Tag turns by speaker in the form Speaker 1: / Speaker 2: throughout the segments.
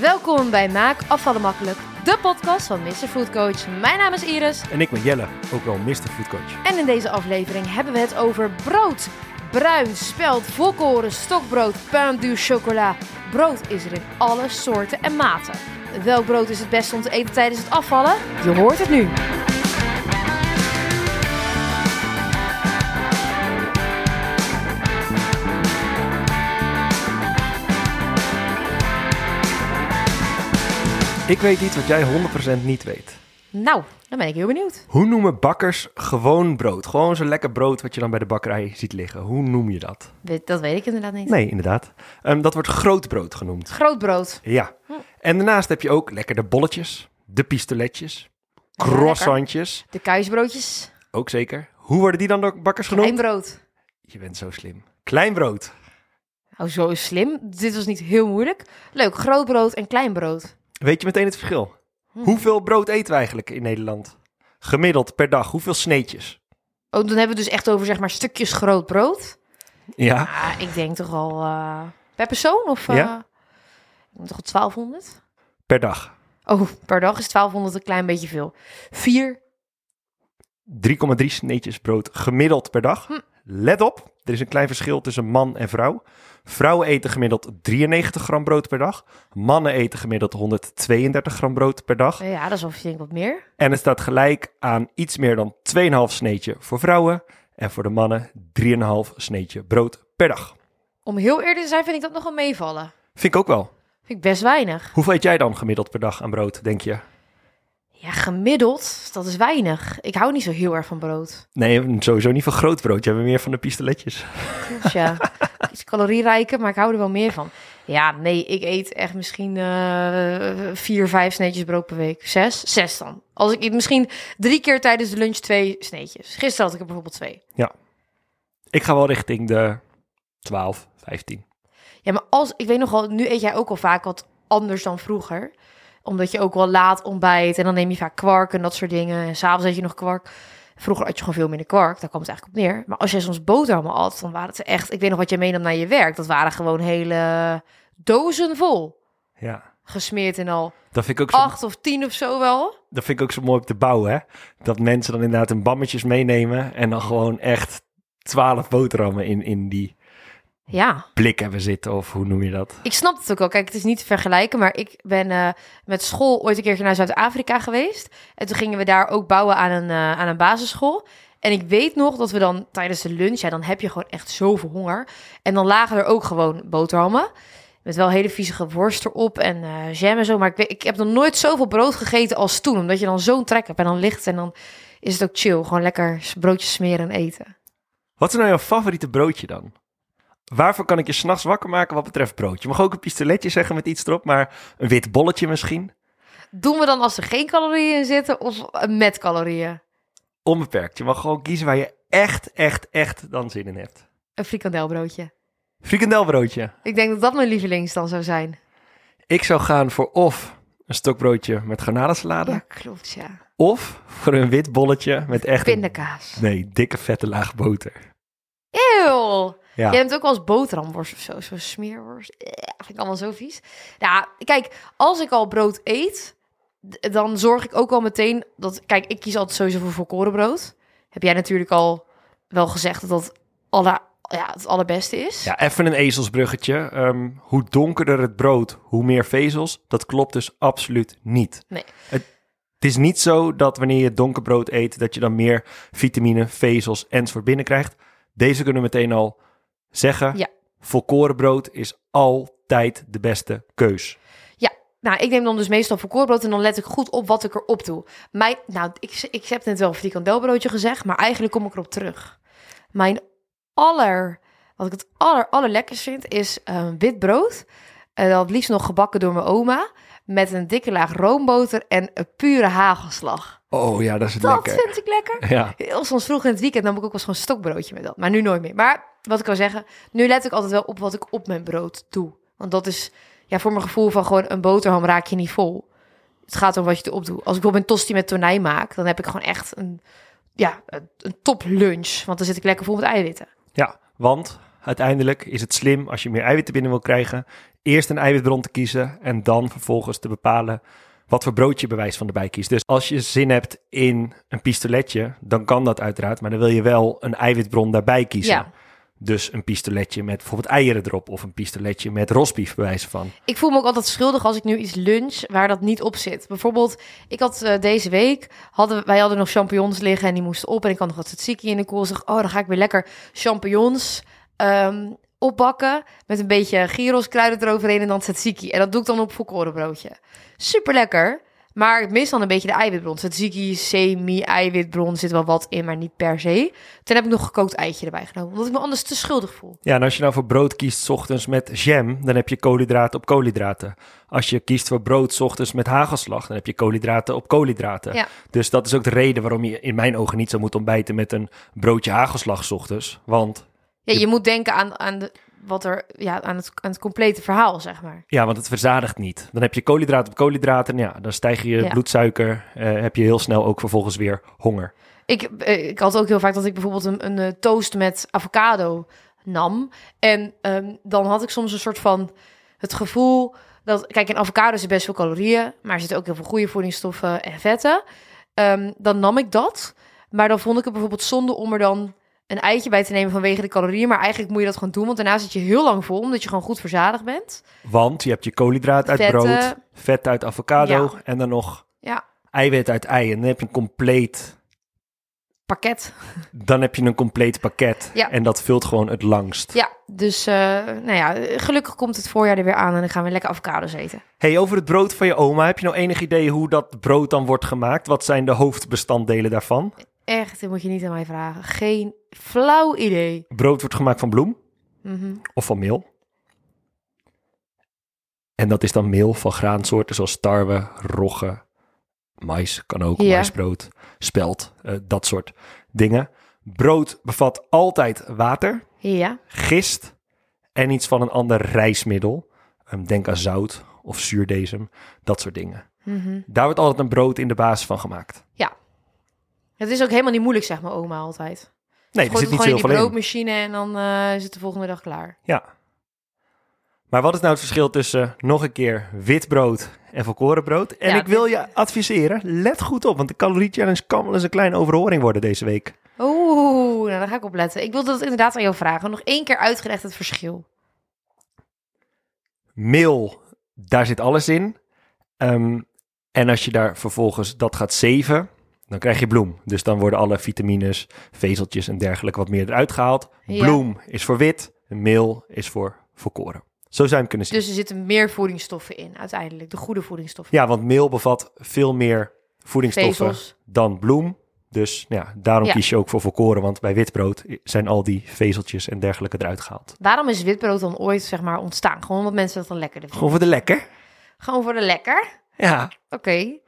Speaker 1: Welkom bij Maak Afvallen Makkelijk, de podcast van Mr. Food Coach. Mijn naam is Iris
Speaker 2: En ik ben Jelle, ook wel Mr. Food Coach.
Speaker 1: en in deze aflevering hebben we het over brood. Bruin, speld, volkoren, stokbrood, pain du chocola. Brood is er in alle soorten en maten. Welk brood is het beste om te eten tijdens het afvallen? Je hoort het nu.
Speaker 2: Ik weet iets wat jij 100% niet weet.
Speaker 1: Nou, dan ben ik heel benieuwd.
Speaker 2: Hoe noemen bakkers gewoon brood? Gewoon zo'n lekker brood wat je dan bij de bakkerij ziet liggen. Hoe noem je dat?
Speaker 1: We- Dat weet ik inderdaad niet.
Speaker 2: Nee, inderdaad. Ehm, dat wordt grootbrood genoemd.
Speaker 1: Groot brood.
Speaker 2: Ja. En daarnaast heb je ook lekker de bolletjes, de pistoletjes, croissantjes.
Speaker 1: De kuisbroodjes.
Speaker 2: Ook zeker. Hoe worden die dan door bakkers genoemd?
Speaker 1: Klein brood.
Speaker 2: Je bent zo slim. Klein brood.
Speaker 1: Nou, zo is slim. Dit was niet heel moeilijk. Leuk, groot brood en klein brood.
Speaker 2: Weet je meteen het verschil?
Speaker 1: Hm.
Speaker 2: Hoeveel brood eten we eigenlijk in Nederland? Gemiddeld per dag, hoeveel sneetjes?
Speaker 1: Oh, dan hebben we het dus echt over zeg maar stukjes groot brood.
Speaker 2: Ja.
Speaker 1: Ah, ik denk toch al eh, per persoon of eh,
Speaker 2: Ja.
Speaker 1: ik denk toch al 1200?
Speaker 2: Per dag.
Speaker 1: Oh, per dag is 1200 een klein beetje veel. Vier.
Speaker 2: 3,3 sneetjes brood gemiddeld per dag. Let op, er is een klein verschil tussen man en vrouw. Vrouwen eten gemiddeld 93 gram brood per dag. Mannen eten gemiddeld 132 gram brood per dag.
Speaker 1: Nou Ja, dat is wel denk ik wat meer.
Speaker 2: En het staat gelijk aan iets meer dan 2,5 sneetje voor vrouwen. En voor de mannen 3,5 sneetje brood per dag.
Speaker 1: Om heel eerlijk te zijn vind ik dat nogal meevallen.
Speaker 2: Vind ik ook wel.
Speaker 1: Vind ik best weinig.
Speaker 2: Hoeveel eet jij dan gemiddeld per dag aan brood, denk je?
Speaker 1: Ja, gemiddeld, dat is weinig. Ik hou niet zo heel erg van brood.
Speaker 2: Nee, sowieso niet van groot brood. Jij hebt meer van de pistoletjes.
Speaker 1: Dus ja, iets calorierijker, maar ik hou er wel meer van. Ja, nee, ik eet echt misschien eh, vier, vijf sneetjes brood per week. Zes? Zes dan. Als ik misschien drie keer tijdens de lunch twee sneetjes. Gisteren had ik er bijvoorbeeld twee.
Speaker 2: Ik ga wel richting de 12, 15.
Speaker 1: Ja, maar als ik weet nogal, nu eet jij ook al vaak wat anders dan vroeger. Omdat je ook wel laat ontbijt en dan neem je vaak kwark en dat soort dingen. En s'avonds eet je nog kwark. Vroeger had je gewoon veel minder kwark, daar kwam het eigenlijk op neer. Maar als jij soms boterhammen at, dan waren het echt... Ik weet nog wat jij meenam naar je werk. Dat waren gewoon hele dozen vol.
Speaker 2: Ja.
Speaker 1: Gesmeerd en al
Speaker 2: Dat vind ik ook zo
Speaker 1: acht of tien of zo wel.
Speaker 2: dat vind ik ook zo mooi op de bouw, hè? Dat mensen dan inderdaad hun bammetjes meenemen en dan gewoon echt twaalf boterhammen in, in die
Speaker 1: Ja.
Speaker 2: blik hebben zitten, of hoe noem je dat?
Speaker 1: Ik snap het ook wel. Kijk, het is niet te vergelijken, maar ik ben eh, met school ooit een keertje naar Zuid-Afrika geweest. En toen gingen we daar ook bouwen aan een, eh, aan een basisschool. En ik weet nog dat we dan tijdens de lunch, ja, dan heb je gewoon echt zoveel honger. En dan lagen er ook gewoon boterhammen. Met wel hele viezige worst erop en eh jam en zo. Maar ik, weet, ik heb nog nooit zoveel brood gegeten als toen. Omdat je dan zo'n trek hebt en dan ligt het en dan is het ook chill. Gewoon lekker broodjes smeren en eten.
Speaker 2: Wat is nou jouw favoriete broodje dan? Waarvoor kan ik je s'nachts wakker maken wat betreft brood? Je mag ook een pistoletje zeggen met iets erop, maar een wit bolletje misschien?
Speaker 1: Doen we dan als er geen calorieën in zitten of eh, met calorieën?
Speaker 2: Onbeperkt. Je mag gewoon kiezen waar je echt, echt, echt dan zin in hebt.
Speaker 1: Een frikandelbroodje.
Speaker 2: Frikandelbroodje.
Speaker 1: Ik denk dat dat mijn lievelings dan zou zijn.
Speaker 2: Ik zou gaan voor of een stokbroodje met garnalensalade,
Speaker 1: Ja, klopt, ja.
Speaker 2: of voor een wit bolletje met echt... een-
Speaker 1: Pindakaas.
Speaker 2: Nee, dikke vette laag boter.
Speaker 1: Eeuw!
Speaker 2: Ja.
Speaker 1: Jij hebt ook wel eens boterhamworst of zo, zo'n smeerworst. Eh, vind ik allemaal zo vies. Nou, kijk, als ik al brood eet, d- dan zorg ik ook al meteen dat... Kijk, ik kies altijd sowieso voor volkorenbrood. Heb jij natuurlijk al wel gezegd dat dat alle, ja, het allerbeste is.
Speaker 2: Ja, even een ezelsbruggetje. Ehm, hoe donkerder het brood, hoe meer vezels. Dat klopt dus absoluut niet.
Speaker 1: Nee.
Speaker 2: Het, het is niet zo dat wanneer je donker brood eet, dat je dan meer vitamine, vezels enzovoort binnenkrijgt. Deze kunnen we meteen al zeggen.
Speaker 1: Ja.
Speaker 2: Volkoren brood is altijd de beste keus.
Speaker 1: Nou, ik neem dan dus meestal volkorenbrood en dan let ik goed op wat ik erop doe. Mijn, nou, ik, ik heb net wel een frikandelbroodje gezegd, maar eigenlijk kom ik erop terug. Mijn aller, wat ik het aller, allerlekkerst vind, is eh, wit brood. En dat het liefst nog gebakken door mijn oma. Met een dikke laag roomboter en een pure hagelslag.
Speaker 2: Oh ja, dat is
Speaker 1: Dat
Speaker 2: lekker.
Speaker 1: vind ik lekker.
Speaker 2: Ja.
Speaker 1: Heel soms vroeg in het weekend nam ik ook wel eens gewoon een stokbroodje met dat. Maar nu nooit meer. Maar wat ik wil zeggen, nu let ik altijd wel op wat ik op mijn brood doe. Want dat is, ja, voor mijn gevoel van gewoon een boterham raak je niet vol. Het gaat om wat je erop doet. Als ik bijvoorbeeld een tosti met tonijn maak, dan heb ik gewoon echt een, ja, een, een top lunch. Want dan zit ik lekker vol met eiwitten.
Speaker 2: ja, want Uiteindelijk is het slim als je meer eiwitten binnen wil krijgen, eerst een eiwitbron te kiezen en dan vervolgens te bepalen wat voor brood je bewijs van erbij kiest. Dus als je zin hebt in een pistoletje, dan kan dat uiteraard, maar dan wil je wel een eiwitbron daarbij kiezen.
Speaker 1: Ja.
Speaker 2: Dus een pistoletje met bijvoorbeeld eieren erop of een pistoletje met rosbief bewijs van.
Speaker 1: Ik voel me ook altijd schuldig als ik nu iets lunch waar dat niet op zit. Bijvoorbeeld, ik had eh, deze week, hadden, wij hadden nog champignons liggen en die moesten op. En ik had nog wat tzatziki in de koel. Zeg, oh, dan ga ik weer lekker champignons ehm, opbakken met een beetje gyros kruiden eroverheen en dan tzatziki. En dat doe ik dan op volkoren broodje. Super lekker, maar ik mis dan een beetje de eiwitbron. Tzatziki, semi-eiwitbron, zit wel wat in, maar niet per se. Toen heb ik nog gekookt eitje erbij genomen, omdat ik me anders te schuldig voel.
Speaker 2: Ja, en als je nou voor brood kiest 's ochtends met jam, dan heb je koolhydraten op koolhydraten. Als je kiest voor brood 's ochtends met hagelslag, dan heb je koolhydraten op koolhydraten.
Speaker 1: Ja.
Speaker 2: Dus dat is ook de reden waarom je in mijn ogen niet zou moeten ontbijten met een broodje hagelslag 's ochtends. Want,
Speaker 1: Ja,
Speaker 2: Je-
Speaker 1: je moet denken aan, aan, de, wat er, ja, aan, het, aan het complete verhaal, zeg maar.
Speaker 2: ja, want het verzadigt niet. Dan heb je koolhydraten op koolhydraten en ja, dan stijg je
Speaker 1: Ja.
Speaker 2: bloedsuiker, eh, heb je heel snel ook vervolgens weer honger.
Speaker 1: Ik, eh, ik had ook heel vaak dat ik bijvoorbeeld een, een eh, toast met avocado nam. En ehm, dan had ik soms een soort van het gevoel dat... Kijk, in avocado zit best veel calorieën, maar er zitten ook heel veel goede voedingsstoffen en vetten. Ehm, dan nam ik dat, maar dan vond ik het bijvoorbeeld zonde om er dan een eitje bij te nemen vanwege de calorieën. Maar eigenlijk moet je dat gewoon doen, want daarna zit je heel lang vol, omdat je gewoon goed verzadigd bent.
Speaker 2: Want je hebt je koolhydraten uit
Speaker 1: Vetten.
Speaker 2: brood, vet uit avocado
Speaker 1: Ja.
Speaker 2: en dan nog
Speaker 1: Ja.
Speaker 2: eiwit uit ei. En dan heb je een compleet
Speaker 1: Pakket.
Speaker 2: dan heb je een compleet pakket.
Speaker 1: Ja.
Speaker 2: En dat vult gewoon het langst.
Speaker 1: Ja, dus eh, nou ja, gelukkig komt het voorjaar er weer aan en dan gaan we lekker avocados eten.
Speaker 2: Hey, over het brood van je oma, heb je nou enig idee hoe dat brood dan wordt gemaakt? Wat zijn de hoofdbestanddelen daarvan?
Speaker 1: Echt, dit moet je niet aan mij vragen. Geen flauw idee.
Speaker 2: Brood wordt gemaakt van bloem
Speaker 1: Mhm.
Speaker 2: of van meel. En dat is dan meel van graansoorten zoals tarwe, rogge, mais, kan ook,
Speaker 1: Ja.
Speaker 2: maisbrood, spelt, eh, dat soort dingen. Brood bevat altijd water.
Speaker 1: Ja,
Speaker 2: gist en iets van een ander rijstmiddel. Ehm, denk aan zout of zuurdesem, dat soort dingen.
Speaker 1: Mhm.
Speaker 2: Daar wordt altijd een brood in de basis van gemaakt.
Speaker 1: het is ook helemaal niet moeilijk, zeg maar oma altijd.
Speaker 2: Nee,
Speaker 1: Gooit
Speaker 2: er zit
Speaker 1: het
Speaker 2: niet
Speaker 1: gewoon in
Speaker 2: heel
Speaker 1: die
Speaker 2: veel in.
Speaker 1: broodmachine en dan eh, is het de volgende dag klaar.
Speaker 2: Ja. Maar wat is nou het verschil tussen nog een keer wit brood en volkoren brood? En
Speaker 1: Ja,
Speaker 2: ik wil je adviseren, let goed op, want de calorie challenge kan wel eens een kleine overhoring worden deze week.
Speaker 1: Oeh, nou daar ga ik op letten. Ik wilde dat inderdaad aan jou vragen. Nog één keer uitgelegd het verschil.
Speaker 2: Meel, daar zit alles in. Ehm, en als je daar vervolgens dat gaat zeven, dan krijg je bloem. Dus dan worden alle vitamines, vezeltjes en dergelijke wat meer eruit gehaald.
Speaker 1: Ja.
Speaker 2: Bloem is voor wit, meel is voor volkoren. Zo zou je hem kunnen zien.
Speaker 1: Dus er zitten meer voedingsstoffen in uiteindelijk. De goede voedingsstoffen.
Speaker 2: Ja, want meel bevat veel meer voedingsstoffen
Speaker 1: Dus- Vezels.
Speaker 2: dan bloem. Dus ja, daarom
Speaker 1: Ja.
Speaker 2: kies je ook voor volkoren, want bij witbrood zijn al die vezeltjes en dergelijke eruit gehaald.
Speaker 1: Waarom is witbrood dan ooit zeg maar ontstaan? Gewoon omdat mensen dat dan lekkerder vinden.
Speaker 2: Gewoon voor de lekker.
Speaker 1: Gewoon voor de lekker.
Speaker 2: Ja,
Speaker 1: Oké.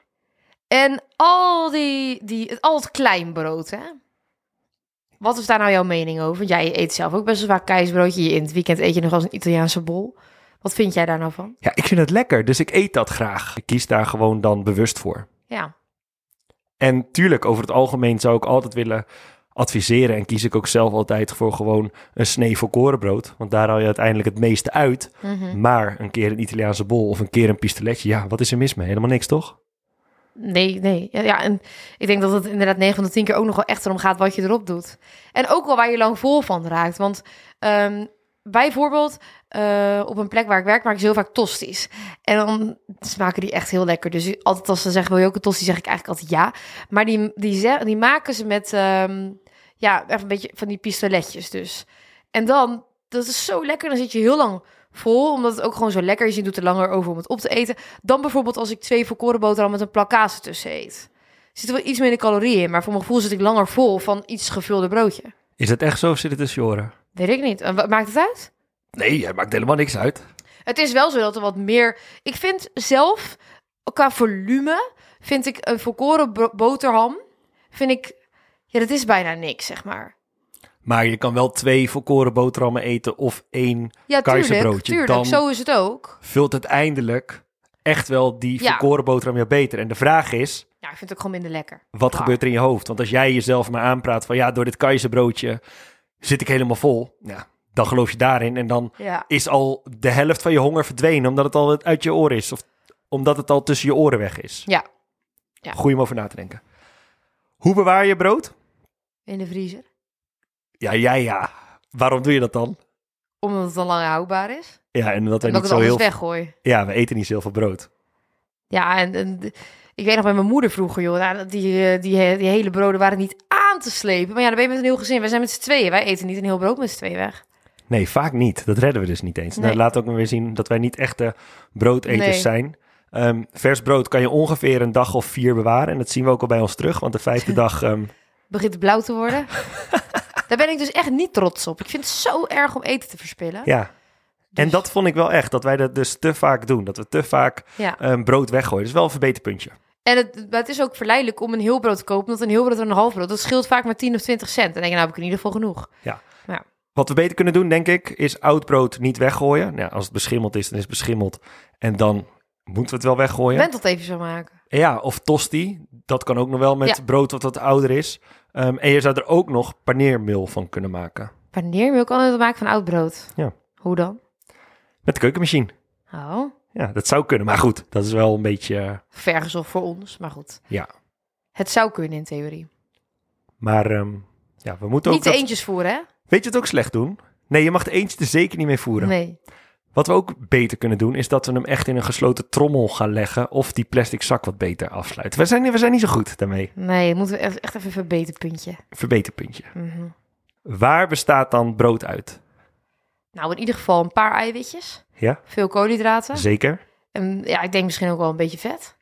Speaker 1: En al die, die al het kleinbrood, hè? Wat is daar nou jouw mening over? Want Jij eet zelf ook best wel vaak keizersbroodje. In het weekend eet je nog als een Italiaanse bol. Wat vind jij daar nou van?
Speaker 2: ja, ik vind het lekker, dus ik eet dat graag. Ik kies daar gewoon dan bewust voor.
Speaker 1: Ja.
Speaker 2: En tuurlijk, over het algemeen zou ik altijd willen adviseren en kies ik ook zelf altijd voor gewoon een snee volkorenbrood, want daar haal je uiteindelijk het meeste uit. Maar een keer een Italiaanse bol of een keer een pistoletje, ja, wat is er mis mee? Helemaal niks, toch?
Speaker 1: Nee, nee. Ja, ja, en ik denk dat het inderdaad 9 van de 10 keer ook nog wel echt erom gaat wat je erop doet. En ook wel waar je lang vol van raakt. Want ehm, bijvoorbeeld eh, op een plek waar ik werk maak ik heel vaak tosties. En dan smaken die echt heel lekker. Dus altijd als ze zeggen, wil je ook een tostie, zeg ik eigenlijk altijd ja. Maar die, die, ze- die maken ze met, ehm, ja, echt een beetje van die pistoletjes dus. En dan, dat is zo lekker, dan zit je heel lang vol, omdat het ook gewoon zo lekker is. Je doet er langer over om het op te eten. Dan bijvoorbeeld als ik twee volkoren boterham met een plak kaas ertussen eet. Zit er wel iets minder calorieën in, maar voor mijn gevoel zit ik langer vol van iets gevulde broodje.
Speaker 2: Is dat echt zo of zit het tussen je oren?
Speaker 1: Weet ik niet. En wat Maakt het uit?
Speaker 2: Nee, het maakt helemaal niks uit.
Speaker 1: Het is wel zo dat er wat meer. Ik vind zelf qua volume vind ik een volkoren bro- boterham vind ik ja dat is bijna niks zeg maar.
Speaker 2: Maar je kan wel twee volkoren boterhammen eten of één.
Speaker 1: Ja, tuurlijk,
Speaker 2: Keizerbroodje,
Speaker 1: tuurlijk.
Speaker 2: dan-
Speaker 1: Zo is het ook.
Speaker 2: Vult uiteindelijk echt wel die
Speaker 1: Ja.
Speaker 2: volkoren boterham je beter. En de vraag is,
Speaker 1: Ja, ik vind het ook gewoon minder lekker.
Speaker 2: Wat
Speaker 1: Ja.
Speaker 2: gebeurt er in je hoofd? Want als jij jezelf maar aanpraat van ja, door dit keizerbroodje zit ik helemaal vol. Ja, dan geloof je daarin. En dan
Speaker 1: Ja.
Speaker 2: is al de helft van je honger verdwenen, omdat het al uit je oren is. Of omdat het al tussen je oren weg is.
Speaker 1: Ja. Ja.
Speaker 2: Goed om over na te denken. Hoe bewaar je brood?
Speaker 1: In de vriezer.
Speaker 2: Ja, ja, ja. Waarom doe je dat dan?
Speaker 1: Omdat het dan langer houdbaar is.
Speaker 2: Ja,
Speaker 1: En
Speaker 2: en dat wij
Speaker 1: dat ik
Speaker 2: niet
Speaker 1: het
Speaker 2: zo
Speaker 1: anders
Speaker 2: heel...
Speaker 1: weggooi.
Speaker 2: Ja, we eten niet zo heel veel brood.
Speaker 1: Ja, en, en d- ik weet nog bij mijn moeder vroeger, joh. nou, dat die, eh, die, die hele broden waren niet aan te slepen. Maar ja, dan ben je met een heel gezin. Wij zijn met z'n tweeën. Wij eten niet een heel brood met z'n tweeën weg.
Speaker 2: Nee, vaak niet. Dat redden we dus niet eens. Nou,
Speaker 1: Nee.
Speaker 2: laat ook maar weer zien dat wij niet echte broodeters
Speaker 1: Nee.
Speaker 2: zijn. Ehm, vers brood kan je ongeveer een dag of vier bewaren. En dat zien we ook al bij ons terug. Want de vijfde dag ehm,
Speaker 1: Begint het blauw te worden. Daar ben ik dus echt niet trots op. Ik vind het zo erg om eten te verspillen.
Speaker 2: Ja. En
Speaker 1: Dus-
Speaker 2: dat vond ik wel echt, dat wij dat dus te vaak doen. Dat we te vaak
Speaker 1: Ja.
Speaker 2: ehm, brood weggooien. Dat is wel een verbeterpuntje.
Speaker 1: En het, maar het is ook verleidelijk om een heel brood te kopen. Want een heel brood en een half brood, dat scheelt vaak maar 10 of 20 cent. En dan denk je, nou heb ik in ieder geval genoeg.
Speaker 2: Wat we beter kunnen doen, denk ik, is oud brood niet weggooien. Nou, als het beschimmeld is, dan is het beschimmeld. En dan moeten we het wel weggooien.
Speaker 1: Bent dat even zo maken.
Speaker 2: En Ja, of tosti. Dat kan ook nog wel met
Speaker 1: Ja.
Speaker 2: brood wat wat ouder is. Ehm, en je zou er ook nog paneermeel van kunnen maken.
Speaker 1: Wanneer wil ik altijd maken van oud brood?
Speaker 2: Ja.
Speaker 1: Hoe dan?
Speaker 2: Met de keukenmachine.
Speaker 1: Oh,
Speaker 2: Ja, dat zou kunnen. Maar goed, dat is wel een beetje... eh,
Speaker 1: vergezocht voor ons, maar goed.
Speaker 2: Ja.
Speaker 1: Het zou kunnen in theorie.
Speaker 2: Maar ehm, ja, we moeten ook...
Speaker 1: Niet de
Speaker 2: dat-
Speaker 1: eentjes voeren, hè?
Speaker 2: Weet je het ook slecht doen? Nee, je mag de eentje er zeker niet mee voeren.
Speaker 1: Nee.
Speaker 2: Wat we ook beter kunnen doen, is dat we hem echt in een gesloten trommel gaan leggen. Of die plastic zak wat beter afsluiten. We zijn, we zijn niet zo goed daarmee.
Speaker 1: Nee, moeten we echt echt even verbeteren, puntje.
Speaker 2: Verbeterpuntje.
Speaker 1: Mhm.
Speaker 2: Waar bestaat dan brood uit?
Speaker 1: Nou, in ieder geval een paar eiwitjes.
Speaker 2: Ja.
Speaker 1: Veel koolhydraten.
Speaker 2: Zeker?
Speaker 1: En ja, ik denk misschien ook wel een beetje vet.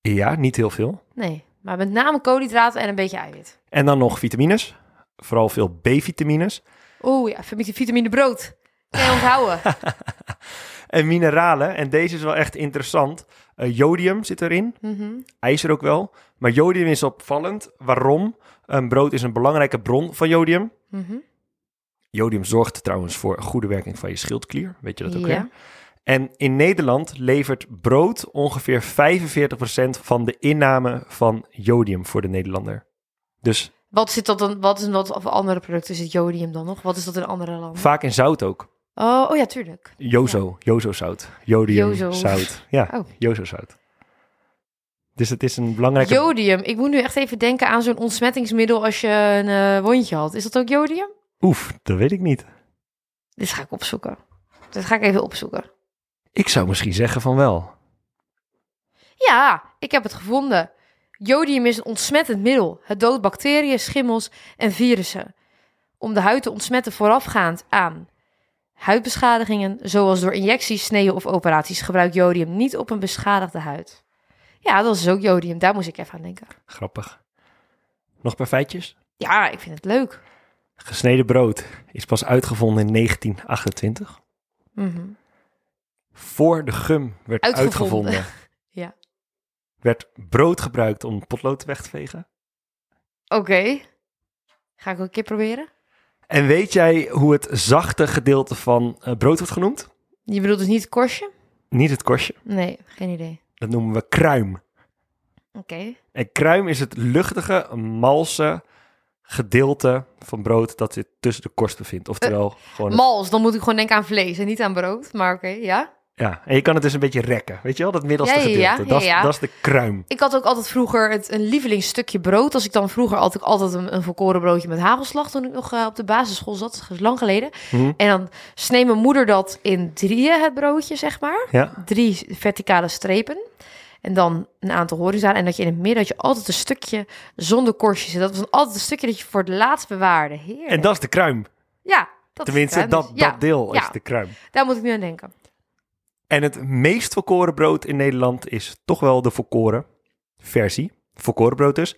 Speaker 2: Ja, niet heel veel.
Speaker 1: Nee, maar met name koolhydraten en een beetje eiwit.
Speaker 2: En dan nog vitamines. Vooral veel B-vitamines.
Speaker 1: Oeh, ja, vitamine- vitamine brood. Kan je onthouden.
Speaker 2: En mineralen. En deze is wel echt interessant. Eh, jodium zit erin.
Speaker 1: Mhm.
Speaker 2: ijzer ook wel. Maar jodium is opvallend. Waarom? Een brood is een belangrijke bron van jodium.
Speaker 1: Mhm.
Speaker 2: Jodium zorgt trouwens voor een goede werking van je schildklier. Weet je dat ook
Speaker 1: Ja.
Speaker 2: weer? En in Nederland levert brood ongeveer 45% van de inname van jodium voor de Nederlander. Dus
Speaker 1: Wat zit dat dan? Wat is wat voor andere producten zit jodium dan nog? Wat is dat in andere landen?
Speaker 2: vaak in zout ook.
Speaker 1: Oh, oh ja, tuurlijk.
Speaker 2: Jozo, jozozout. Jodium,
Speaker 1: Jozo.
Speaker 2: zout. Ja,
Speaker 1: Oh.
Speaker 2: jozozout. Dus het is een belangrijke...
Speaker 1: Jodium. Ik moet nu echt even denken aan zo'n ontsmettingsmiddel als je een eh, wondje had. Is dat ook jodium?
Speaker 2: Oef, dat weet ik niet.
Speaker 1: Dit ga ik opzoeken. Dit ga ik even opzoeken.
Speaker 2: Ik zou misschien zeggen van wel.
Speaker 1: Ja, ik heb het gevonden. Jodium is een ontsmettend middel. Het doodt bacteriën, schimmels en virussen. Om de huid te ontsmetten voorafgaand aan huidbeschadigingen, zoals door injecties, sneeën of operaties, gebruikt jodium niet op een beschadigde huid. Ja, dat is ook jodium. Daar moest ik even aan denken.
Speaker 2: Grappig. Nog een paar feitjes.
Speaker 1: Ja, ik vind het leuk.
Speaker 2: Gesneden brood is pas uitgevonden in 1928.
Speaker 1: Mhm.
Speaker 2: Voor de gum werd uitgevonden.
Speaker 1: Uitgevonden. Ja.
Speaker 2: Werd brood gebruikt om potlood weg te vegen.
Speaker 1: Oké. Ga ik ook een keer proberen?
Speaker 2: En weet jij hoe het zachte gedeelte van eh, brood wordt genoemd?
Speaker 1: Je bedoelt dus niet het korstje?
Speaker 2: Niet het korstje.
Speaker 1: Nee, geen idee.
Speaker 2: Dat noemen we kruim.
Speaker 1: Oké.
Speaker 2: En kruim is het luchtige, malse gedeelte van brood dat zich tussen de korst bevindt.
Speaker 1: Eh,
Speaker 2: Oftewel gewoon... het-
Speaker 1: Mals, dan moet ik gewoon denken aan vlees en niet aan brood. Maar oké, ja.
Speaker 2: ja, en je kan het dus een beetje rekken. Weet je wel, dat middelste
Speaker 1: Ja, ja,
Speaker 2: gedeelte.
Speaker 1: ja, ja,
Speaker 2: dat, is-
Speaker 1: ja.
Speaker 2: dat is de kruim.
Speaker 1: Ik had ook altijd vroeger het, een lievelingsstukje brood. Als ik dan vroeger altijd, altijd een, een volkoren broodje met hagelslag. toen ik nog eh, op de basisschool zat, dat is lang geleden.
Speaker 2: Hm?
Speaker 1: En dan sneed mijn moeder dat in drieën, het broodje, zeg maar.
Speaker 2: Ja.
Speaker 1: Drie verticale strepen. En dan een aantal horizonten. En dat je in het midden had je altijd een stukje zonder korstjes. En dat was dan altijd een stukje dat je voor het laatst bewaarde. Heerlijk.
Speaker 2: En dat is de kruim.
Speaker 1: ja, dat is
Speaker 2: Tenminste,
Speaker 1: het, hè.
Speaker 2: dat,
Speaker 1: Dus ja,
Speaker 2: dat deel
Speaker 1: ja.
Speaker 2: is de kruim.
Speaker 1: Daar moet ik nu aan denken.
Speaker 2: En het meest volkoren brood in Nederland is toch wel de volkoren versie. Volkoren brood dus.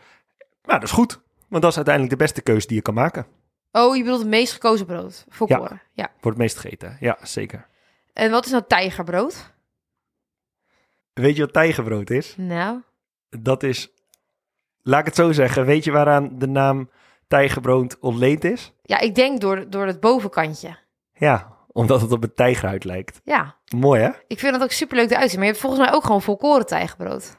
Speaker 2: Maar dat is goed, want dat is uiteindelijk de beste keuze die je kan maken.
Speaker 1: Oh, je bedoelt het meest gekozen brood. Volkoren. Ja.
Speaker 2: Wordt het meest gegeten, ja zeker.
Speaker 1: En wat is nou tijgerbrood?
Speaker 2: Weet je wat tijgerbrood is?
Speaker 1: Nou,
Speaker 2: Dat is, laat ik het zo zeggen, weet je waaraan de naam tijgerbrood ontleend is?
Speaker 1: ja, ik denk door, door het bovenkantje.
Speaker 2: Ja, omdat het op een tijgerhuid lijkt.
Speaker 1: Ja,
Speaker 2: Mooi hè?
Speaker 1: ik vind dat ook superleuk eruit zien. Maar je hebt volgens mij ook gewoon volkoren tijgerbrood.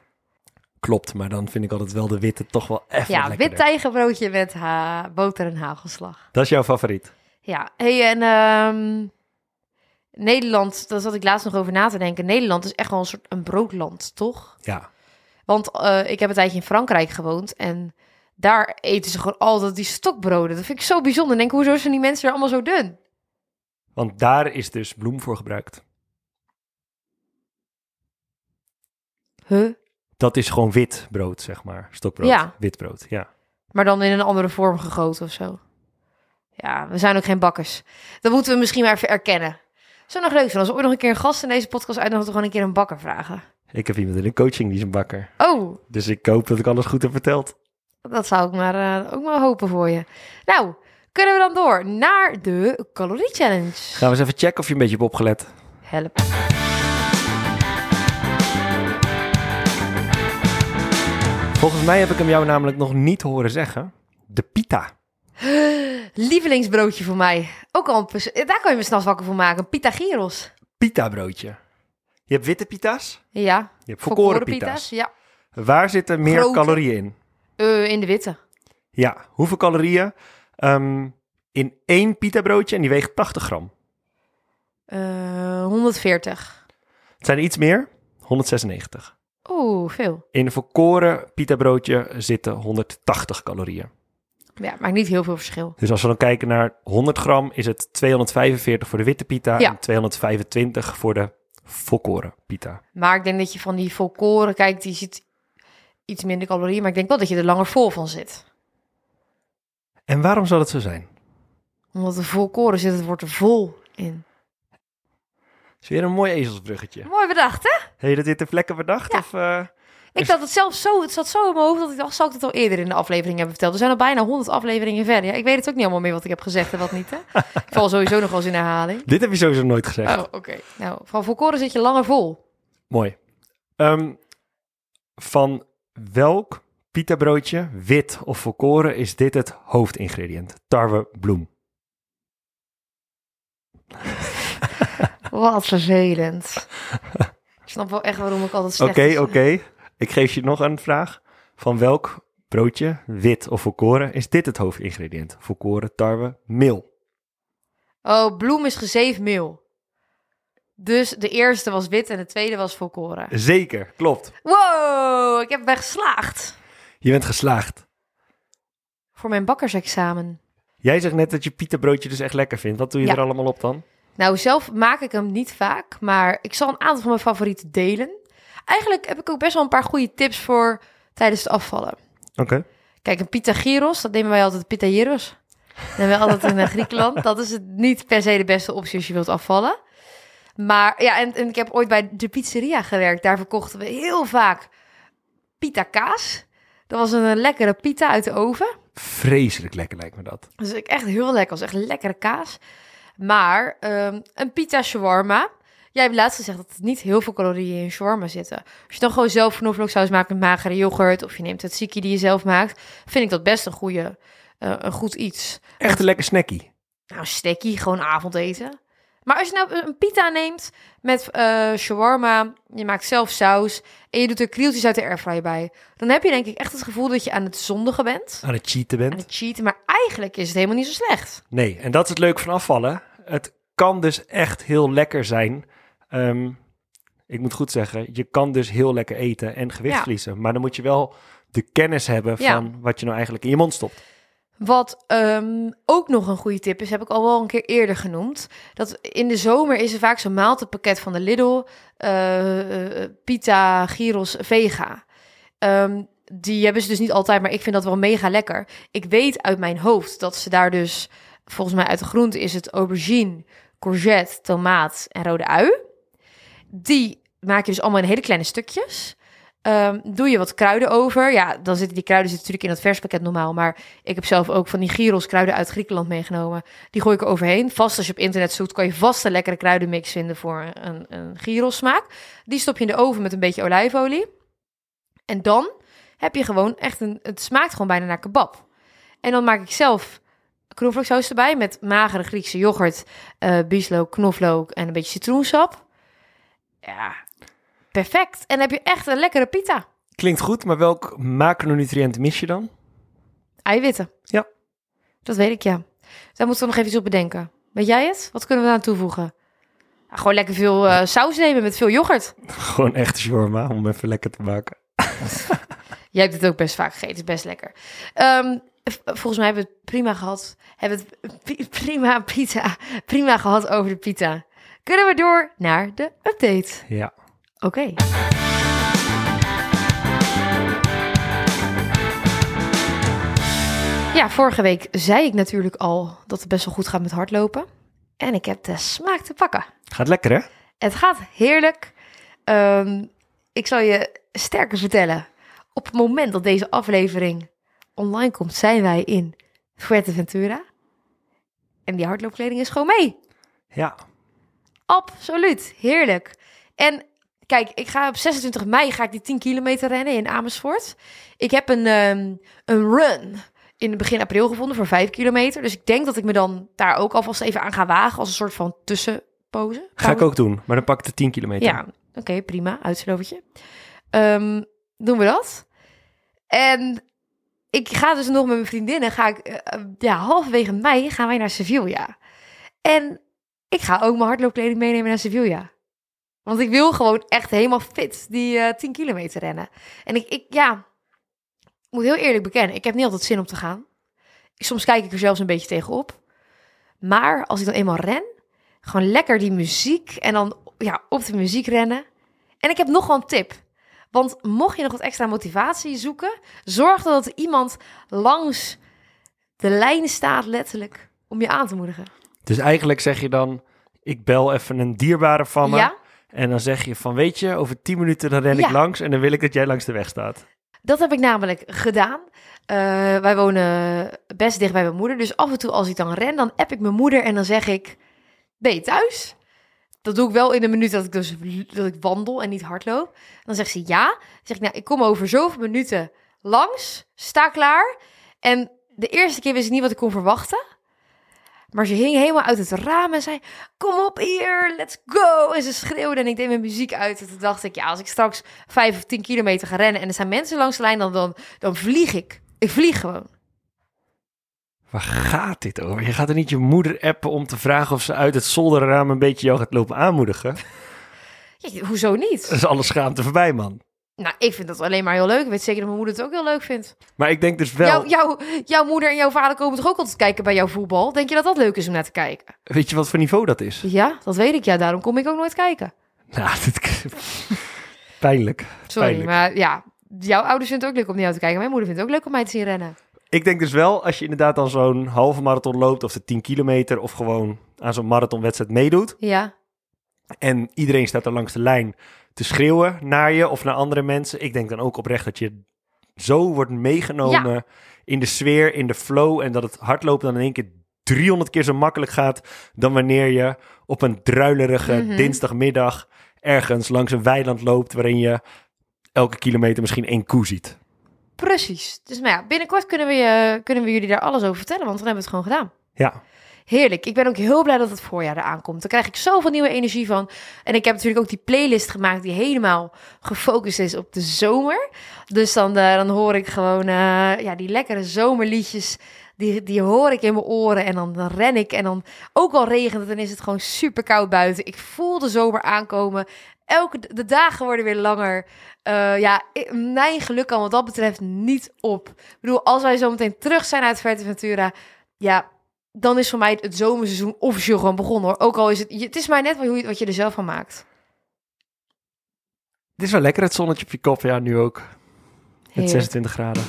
Speaker 2: Klopt, maar dan vind ik altijd wel de witte toch wel even
Speaker 1: Ja,
Speaker 2: lekkerder.
Speaker 1: wit tijgerbroodje met ha boter en hagelslag.
Speaker 2: Dat is jouw favoriet.
Speaker 1: Ja, hey, en ehm, Nederland, daar zat ik laatst nog over na te denken. Nederland is echt wel een soort een broodland, toch?
Speaker 2: Ja.
Speaker 1: Want eh, ik heb een tijdje in Frankrijk gewoond en daar eten ze gewoon altijd die stokbroden. Dat vind ik zo bijzonder. Ik Denk, hoezo zijn die mensen er allemaal zo dun?
Speaker 2: Want daar is dus bloem voor gebruikt.
Speaker 1: Huh?
Speaker 2: Dat is gewoon wit brood, zeg maar. Stokbrood.
Speaker 1: Ja.
Speaker 2: Wit brood, ja.
Speaker 1: Maar dan in een andere vorm gegoten of zo. Ja, we zijn ook geen bakkers. Dat moeten we misschien maar even erkennen. Zou nog leuk zijn als we ooit nog een keer een gast in deze podcast uitnodigen, gewoon een keer een bakker vragen.
Speaker 2: Ik heb iemand in de coaching die is een bakker.
Speaker 1: Oh,
Speaker 2: Dus ik hoop dat ik alles goed heb verteld.
Speaker 1: Dat zou ik maar eh, ook maar hopen voor je. Nou, kunnen we dan door naar de calorie challenge?
Speaker 2: Gaan we eens even checken of je een beetje hebt opgelet.
Speaker 1: Help.
Speaker 2: Volgens mij heb ik hem jou namelijk nog niet horen zeggen. De pita.
Speaker 1: Lievelingsbroodje voor mij. Ook al een pers- eh, daar kan je me s'nachts wakker voor maken. Een pita gyros.
Speaker 2: Pita broodje. Je hebt witte pita's.
Speaker 1: Ja.
Speaker 2: Je hebt volkoren
Speaker 1: pita's,
Speaker 2: pita's.
Speaker 1: Ja.
Speaker 2: Waar zitten meer
Speaker 1: Grote.
Speaker 2: calorieën in?
Speaker 1: Eh, in de witte.
Speaker 2: Ja, hoeveel calorieën ehm, in één pita broodje en die weegt 80 gram?
Speaker 1: Eh, 140.
Speaker 2: Het zijn er iets meer, 196.
Speaker 1: Oeh, veel.
Speaker 2: In een volkoren pita broodje zitten 180 calorieën.
Speaker 1: Ja, maakt niet heel veel verschil.
Speaker 2: Dus als we dan kijken naar 100 gram, is het 245 voor de witte pita
Speaker 1: Ja.
Speaker 2: en 225 voor de volkoren pita.
Speaker 1: Maar ik denk dat je van die volkoren, kijk, die ziet iets minder calorieën. Maar ik denk wel dat je er langer vol van zit.
Speaker 2: En waarom zou dat zo zijn?
Speaker 1: Omdat de volkoren zit, het wordt er vol in.
Speaker 2: Dat is weer een mooi ezelsbruggetje.
Speaker 1: Mooi bedacht, hè?
Speaker 2: Heb je dat dit ter plekke bedacht?
Speaker 1: Ja.
Speaker 2: Of, eh,
Speaker 1: Ik
Speaker 2: Is-
Speaker 1: zat het zelf zo, het zat zo in mijn hoofd dat ik dacht, zal ik het al eerder in de aflevering hebben verteld? We zijn al bijna 100 afleveringen verder. Ja, ik weet het ook niet allemaal meer wat ik heb gezegd en wat niet. Hè? ik val sowieso nog wel eens in herhaling.
Speaker 2: Dit heb je sowieso nooit gezegd.
Speaker 1: Oh, oké. Nou, van volkoren zit je langer vol.
Speaker 2: Mooi. Ehm, van welk pita broodje, wit of volkoren, is dit het hoofdingrediënt? Tarwebloem.
Speaker 1: Wat vervelend. ik snap wel echt waarom ik altijd
Speaker 2: Oké,
Speaker 1: slecht
Speaker 2: oké.
Speaker 1: is.
Speaker 2: Ik geef je nog een vraag. Van welk broodje, wit of volkoren, is dit het hoofdingrediënt? Volkoren, tarwe, meel.
Speaker 1: Oh, bloem is gezeefd meel. Dus de eerste was wit en de tweede was volkoren.
Speaker 2: Zeker, klopt.
Speaker 1: Wow, ik heb ben geslaagd
Speaker 2: Je bent geslaagd.
Speaker 1: voor mijn bakkersexamen.
Speaker 2: Jij zegt net dat je pita broodje dus echt lekker vindt. Wat doe je
Speaker 1: Ja.
Speaker 2: er allemaal op dan?
Speaker 1: Nou, zelf maak ik hem niet vaak, maar ik zal een aantal van mijn favorieten delen. Eigenlijk heb ik ook best wel een paar goede tips voor tijdens het afvallen.
Speaker 2: Oké.
Speaker 1: Kijk, een pita gyros, dat nemen wij altijd pita gyros. Dat nemen we altijd in eh, Griekenland. Dat is het niet per se de beste optie als je wilt afvallen. Maar ja, en, en ik heb ooit bij de pizzeria gewerkt. Daar verkochten we heel vaak pita kaas. Dat was een eh, lekkere pita uit de oven.
Speaker 2: Vreselijk lekker lijkt me dat.
Speaker 1: Dus ik echt heel lekker. was echt lekkere kaas. Maar ehm, een pita shawarma. Jij hebt laatst gezegd dat er niet heel veel calorieën in shawarma zitten. Als je dan gewoon zelf knoflooksaus maakt met magere yoghurt... of je neemt het siki die je zelf maakt... vind ik dat best een, goede, eh, een goed iets.
Speaker 2: Echt een lekker snackie.
Speaker 1: Nou, stekkie, gewoon avondeten. Maar als je nou een pita neemt met eh shawarma... je maakt zelf saus... en je doet er krieltjes uit de airfryer bij... dan heb je denk ik echt het gevoel dat je aan het zondigen bent...
Speaker 2: Aan het cheaten
Speaker 1: aan
Speaker 2: bent.
Speaker 1: het cheaten, maar eigenlijk is het helemaal niet zo slecht.
Speaker 2: Nee, en dat is het leuke van afvallen. Het kan dus echt heel lekker zijn. Ehm, ik moet goed zeggen, je kan dus heel lekker eten en gewicht
Speaker 1: Ja.
Speaker 2: verliezen. Maar dan moet je wel de kennis hebben
Speaker 1: Ja.
Speaker 2: van wat je nou eigenlijk in je mond stopt.
Speaker 1: Wat ehm, ook nog een goede tip is, heb ik al wel een keer eerder genoemd. Dat in de zomer is er vaak zo'n maaltijdpakket van de Lidl, eh, eh, pita, gyros, vega. Ehm, die hebben ze dus niet altijd, maar ik vind dat wel mega lekker. Ik weet uit mijn hoofd dat ze daar dus, volgens mij uit de groente is het aubergine, courgette, tomaat en rode ui. Die maak je dus allemaal in hele kleine stukjes. Ehm, doe je wat kruiden over. Ja, dan zitten die kruiden zitten natuurlijk in dat verspakket normaal. Maar ik heb zelf ook van die gyros kruiden uit Griekenland meegenomen. Die gooi ik er overheen. Vast als je op internet zoekt, kan je vast een lekkere kruidenmix vinden voor een, een gyros smaak. Die stop je in de oven met een beetje olijfolie. En dan heb je gewoon echt een... Het smaakt gewoon bijna naar kebab. En dan maak ik zelf knoflooksaus erbij met magere Griekse yoghurt, eh bieslook, knoflook en een beetje citroensap. Ja, perfect. En dan heb je echt een lekkere pita.
Speaker 2: Klinkt goed, maar welk macronutriënt mis je dan?
Speaker 1: Eiwitten.
Speaker 2: Ja.
Speaker 1: Dat weet ik, ja. Daar moeten we nog even iets op bedenken. Weet jij het? Wat kunnen we aan toevoegen? Ja, gewoon lekker veel eh, saus nemen met veel yoghurt.
Speaker 2: Gewoon echt shawarma om even lekker te maken.
Speaker 1: Jij hebt het ook best vaak gegeten, is best lekker. Ehm, v- volgens mij hebben we het prima gehad. Hebben we het pi- prima, pita, prima gehad over de pita. Kunnen we door naar de update?
Speaker 2: Ja.
Speaker 1: Oké. Ja, vorige week zei ik natuurlijk al dat het best wel goed gaat met hardlopen. En ik heb de smaak te pakken.
Speaker 2: Gaat lekker, hè?
Speaker 1: Het gaat heerlijk. Ehm, ik zal je sterker vertellen. Op het moment dat deze aflevering online komt, zijn wij in Fuerteventura. En die hardloopkleding is gewoon mee.
Speaker 2: Ja.
Speaker 1: Absoluut, heerlijk. En kijk, ik ga op 26 mei ga ik die 10 kilometer rennen in Amersfoort. Ik heb een, ehm, een run in het begin april gevonden voor 5 kilometer. Dus ik denk dat ik me dan daar ook alvast even aan ga wagen als een soort van tussenpoze.
Speaker 2: Ga ik ook doen, maar dan pak ik de 10 kilometer.
Speaker 1: Ja, oké, prima. Uitslovertje. Ehm, doen we dat. En ik ga dus nog met mijn vriendinnen. Ga ik, eh, eh, ja, halverwege mei gaan wij naar Sevilla. En ik ga ook mijn hardloopkleding meenemen naar Sevilla. Want ik wil gewoon echt helemaal fit die eh 10 kilometer rennen. En ik, ik, ja, ik moet heel eerlijk bekennen. Ik heb niet altijd zin om te gaan. Soms kijk ik er zelfs een beetje tegenop. Maar als ik dan eenmaal ren, gewoon lekker die muziek en dan ja, op de muziek rennen. En ik heb nog wel een tip. Want mocht je nog wat extra motivatie zoeken, zorg dat er iemand langs de lijn staat, letterlijk, om je aan te moedigen.
Speaker 2: Dus eigenlijk zeg je dan, ik bel even een dierbare van me.
Speaker 1: Ja,
Speaker 2: En dan zeg je van, weet je, over 10 minuten dan ren
Speaker 1: Ja.
Speaker 2: ik langs en dan wil ik dat jij langs de weg staat.
Speaker 1: dat heb ik namelijk gedaan. Eh, wij wonen best dicht bij mijn moeder. Dus af en toe als ik dan ren, dan app ik mijn moeder en dan zeg ik, ben je thuis? Dat doe ik wel in de minuut dat ik dus dat ik wandel en niet hardloop. Dan zegt ze ja. Dan zeg ik, nou, ik kom over zoveel minuten langs, sta klaar. En de eerste keer wist ik niet wat ik kon verwachten. Maar ze hing helemaal uit het raam en zei, kom op hier, let's go. En ze schreeuwde en ik deed mijn muziek uit. En toen dacht ik, ja, als ik straks vijf of tien kilometer ga rennen... en er zijn mensen langs de lijn, dan, dan, dan vlieg ik. Ik vlieg gewoon.
Speaker 2: Waar gaat dit over? Je gaat er niet je moeder appen om te vragen of ze uit het zolderraam een beetje jou gaat lopen aanmoedigen.
Speaker 1: Ja, hoezo niet?
Speaker 2: Dat is alle schaamte voorbij, man.
Speaker 1: Nou, ik vind dat alleen maar heel leuk. Ik weet zeker dat mijn moeder het ook heel leuk vindt.
Speaker 2: Maar ik denk dus wel,
Speaker 1: Jouw, jouw, jouw moeder en jouw vader komen toch ook altijd kijken bij jouw voetbal? Denk je dat dat leuk is om naar te kijken?
Speaker 2: weet je wat voor niveau dat is?
Speaker 1: Ja, dat weet ik. Ja, daarom kom ik ook nooit kijken.
Speaker 2: Nou, dit... Pijnlijk.
Speaker 1: Sorry,
Speaker 2: Pijnlijk.
Speaker 1: maar ja, jouw ouders vinden het ook leuk om naar jou te kijken. Mijn moeder vindt het ook leuk om mij te zien rennen.
Speaker 2: Ik denk dus wel, als je inderdaad dan zo'n halve marathon loopt, of de 10 kilometer, of gewoon aan zo'n marathonwedstrijd meedoet.
Speaker 1: Ja,
Speaker 2: En iedereen staat er langs de lijn te schreeuwen naar je of naar andere mensen. Ik denk dan ook oprecht dat je zo wordt meegenomen in de sfeer, in de flow. En dat het hardlopen dan in één keer 300 keer zo makkelijk gaat dan wanneer je op een druilerige
Speaker 1: Mhm.
Speaker 2: dinsdagmiddag ergens langs een weiland loopt waarin je elke kilometer misschien één koe ziet.
Speaker 1: precies. Dus maar ja, binnenkort kunnen we, je, kunnen we jullie daar alles over vertellen, want dan hebben we het gewoon gedaan.
Speaker 2: Ja,
Speaker 1: Heerlijk. Ik ben ook heel blij dat het voorjaar eraan komt. Daar krijg ik zoveel nieuwe energie van. En ik heb natuurlijk ook die playlist gemaakt die helemaal gefocust is op de zomer. Dus dan, eh, dan hoor ik gewoon eh, ja, die lekkere zomerliedjes. Die, die hoor ik in mijn oren en dan, dan ren ik. En dan ook al regent het, dan is het gewoon super koud buiten. Ik voel de zomer aankomen. Elke, de dagen worden weer langer. Eh, ja, ik- mijn geluk kan wat dat betreft niet op. Ik bedoel, als wij zo meteen terug zijn uit Ventura, ja, dan is voor mij het zomerseizoen officieel gewoon begonnen hoor. Ook al is het, je- het is maar net wat je, wat je er zelf van maakt.
Speaker 2: het is wel lekker het zonnetje op je kop, ja, nu ook. Met
Speaker 1: Heerlijk.
Speaker 2: 26 graden.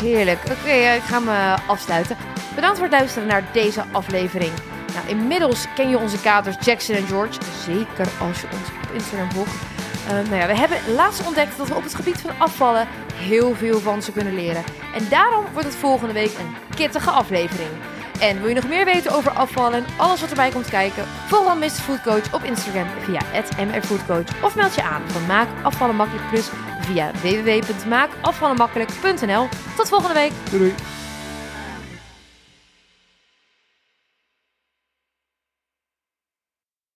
Speaker 1: Heerlijk. Oké, eh, ik ga me afsluiten. Bedankt voor het luisteren naar deze aflevering. Nou, inmiddels ken je onze kaders Jackson en George. Zeker als je ons op Instagram volgt. Eh, nou ja, we hebben laatst ontdekt dat we op het gebied van afvallen heel veel van ze kunnen leren. En daarom wordt het volgende week een kittige aflevering. En wil je nog meer weten over afvallen en alles wat erbij komt kijken? Volg dan Mr. Food Coach op Instagram via @mrfoodcoach of meld je aan van Maak Afvallen Makkelijk Plus via www.maakafvallenmakkelijk.nl. Tot volgende week.
Speaker 2: Doei doei.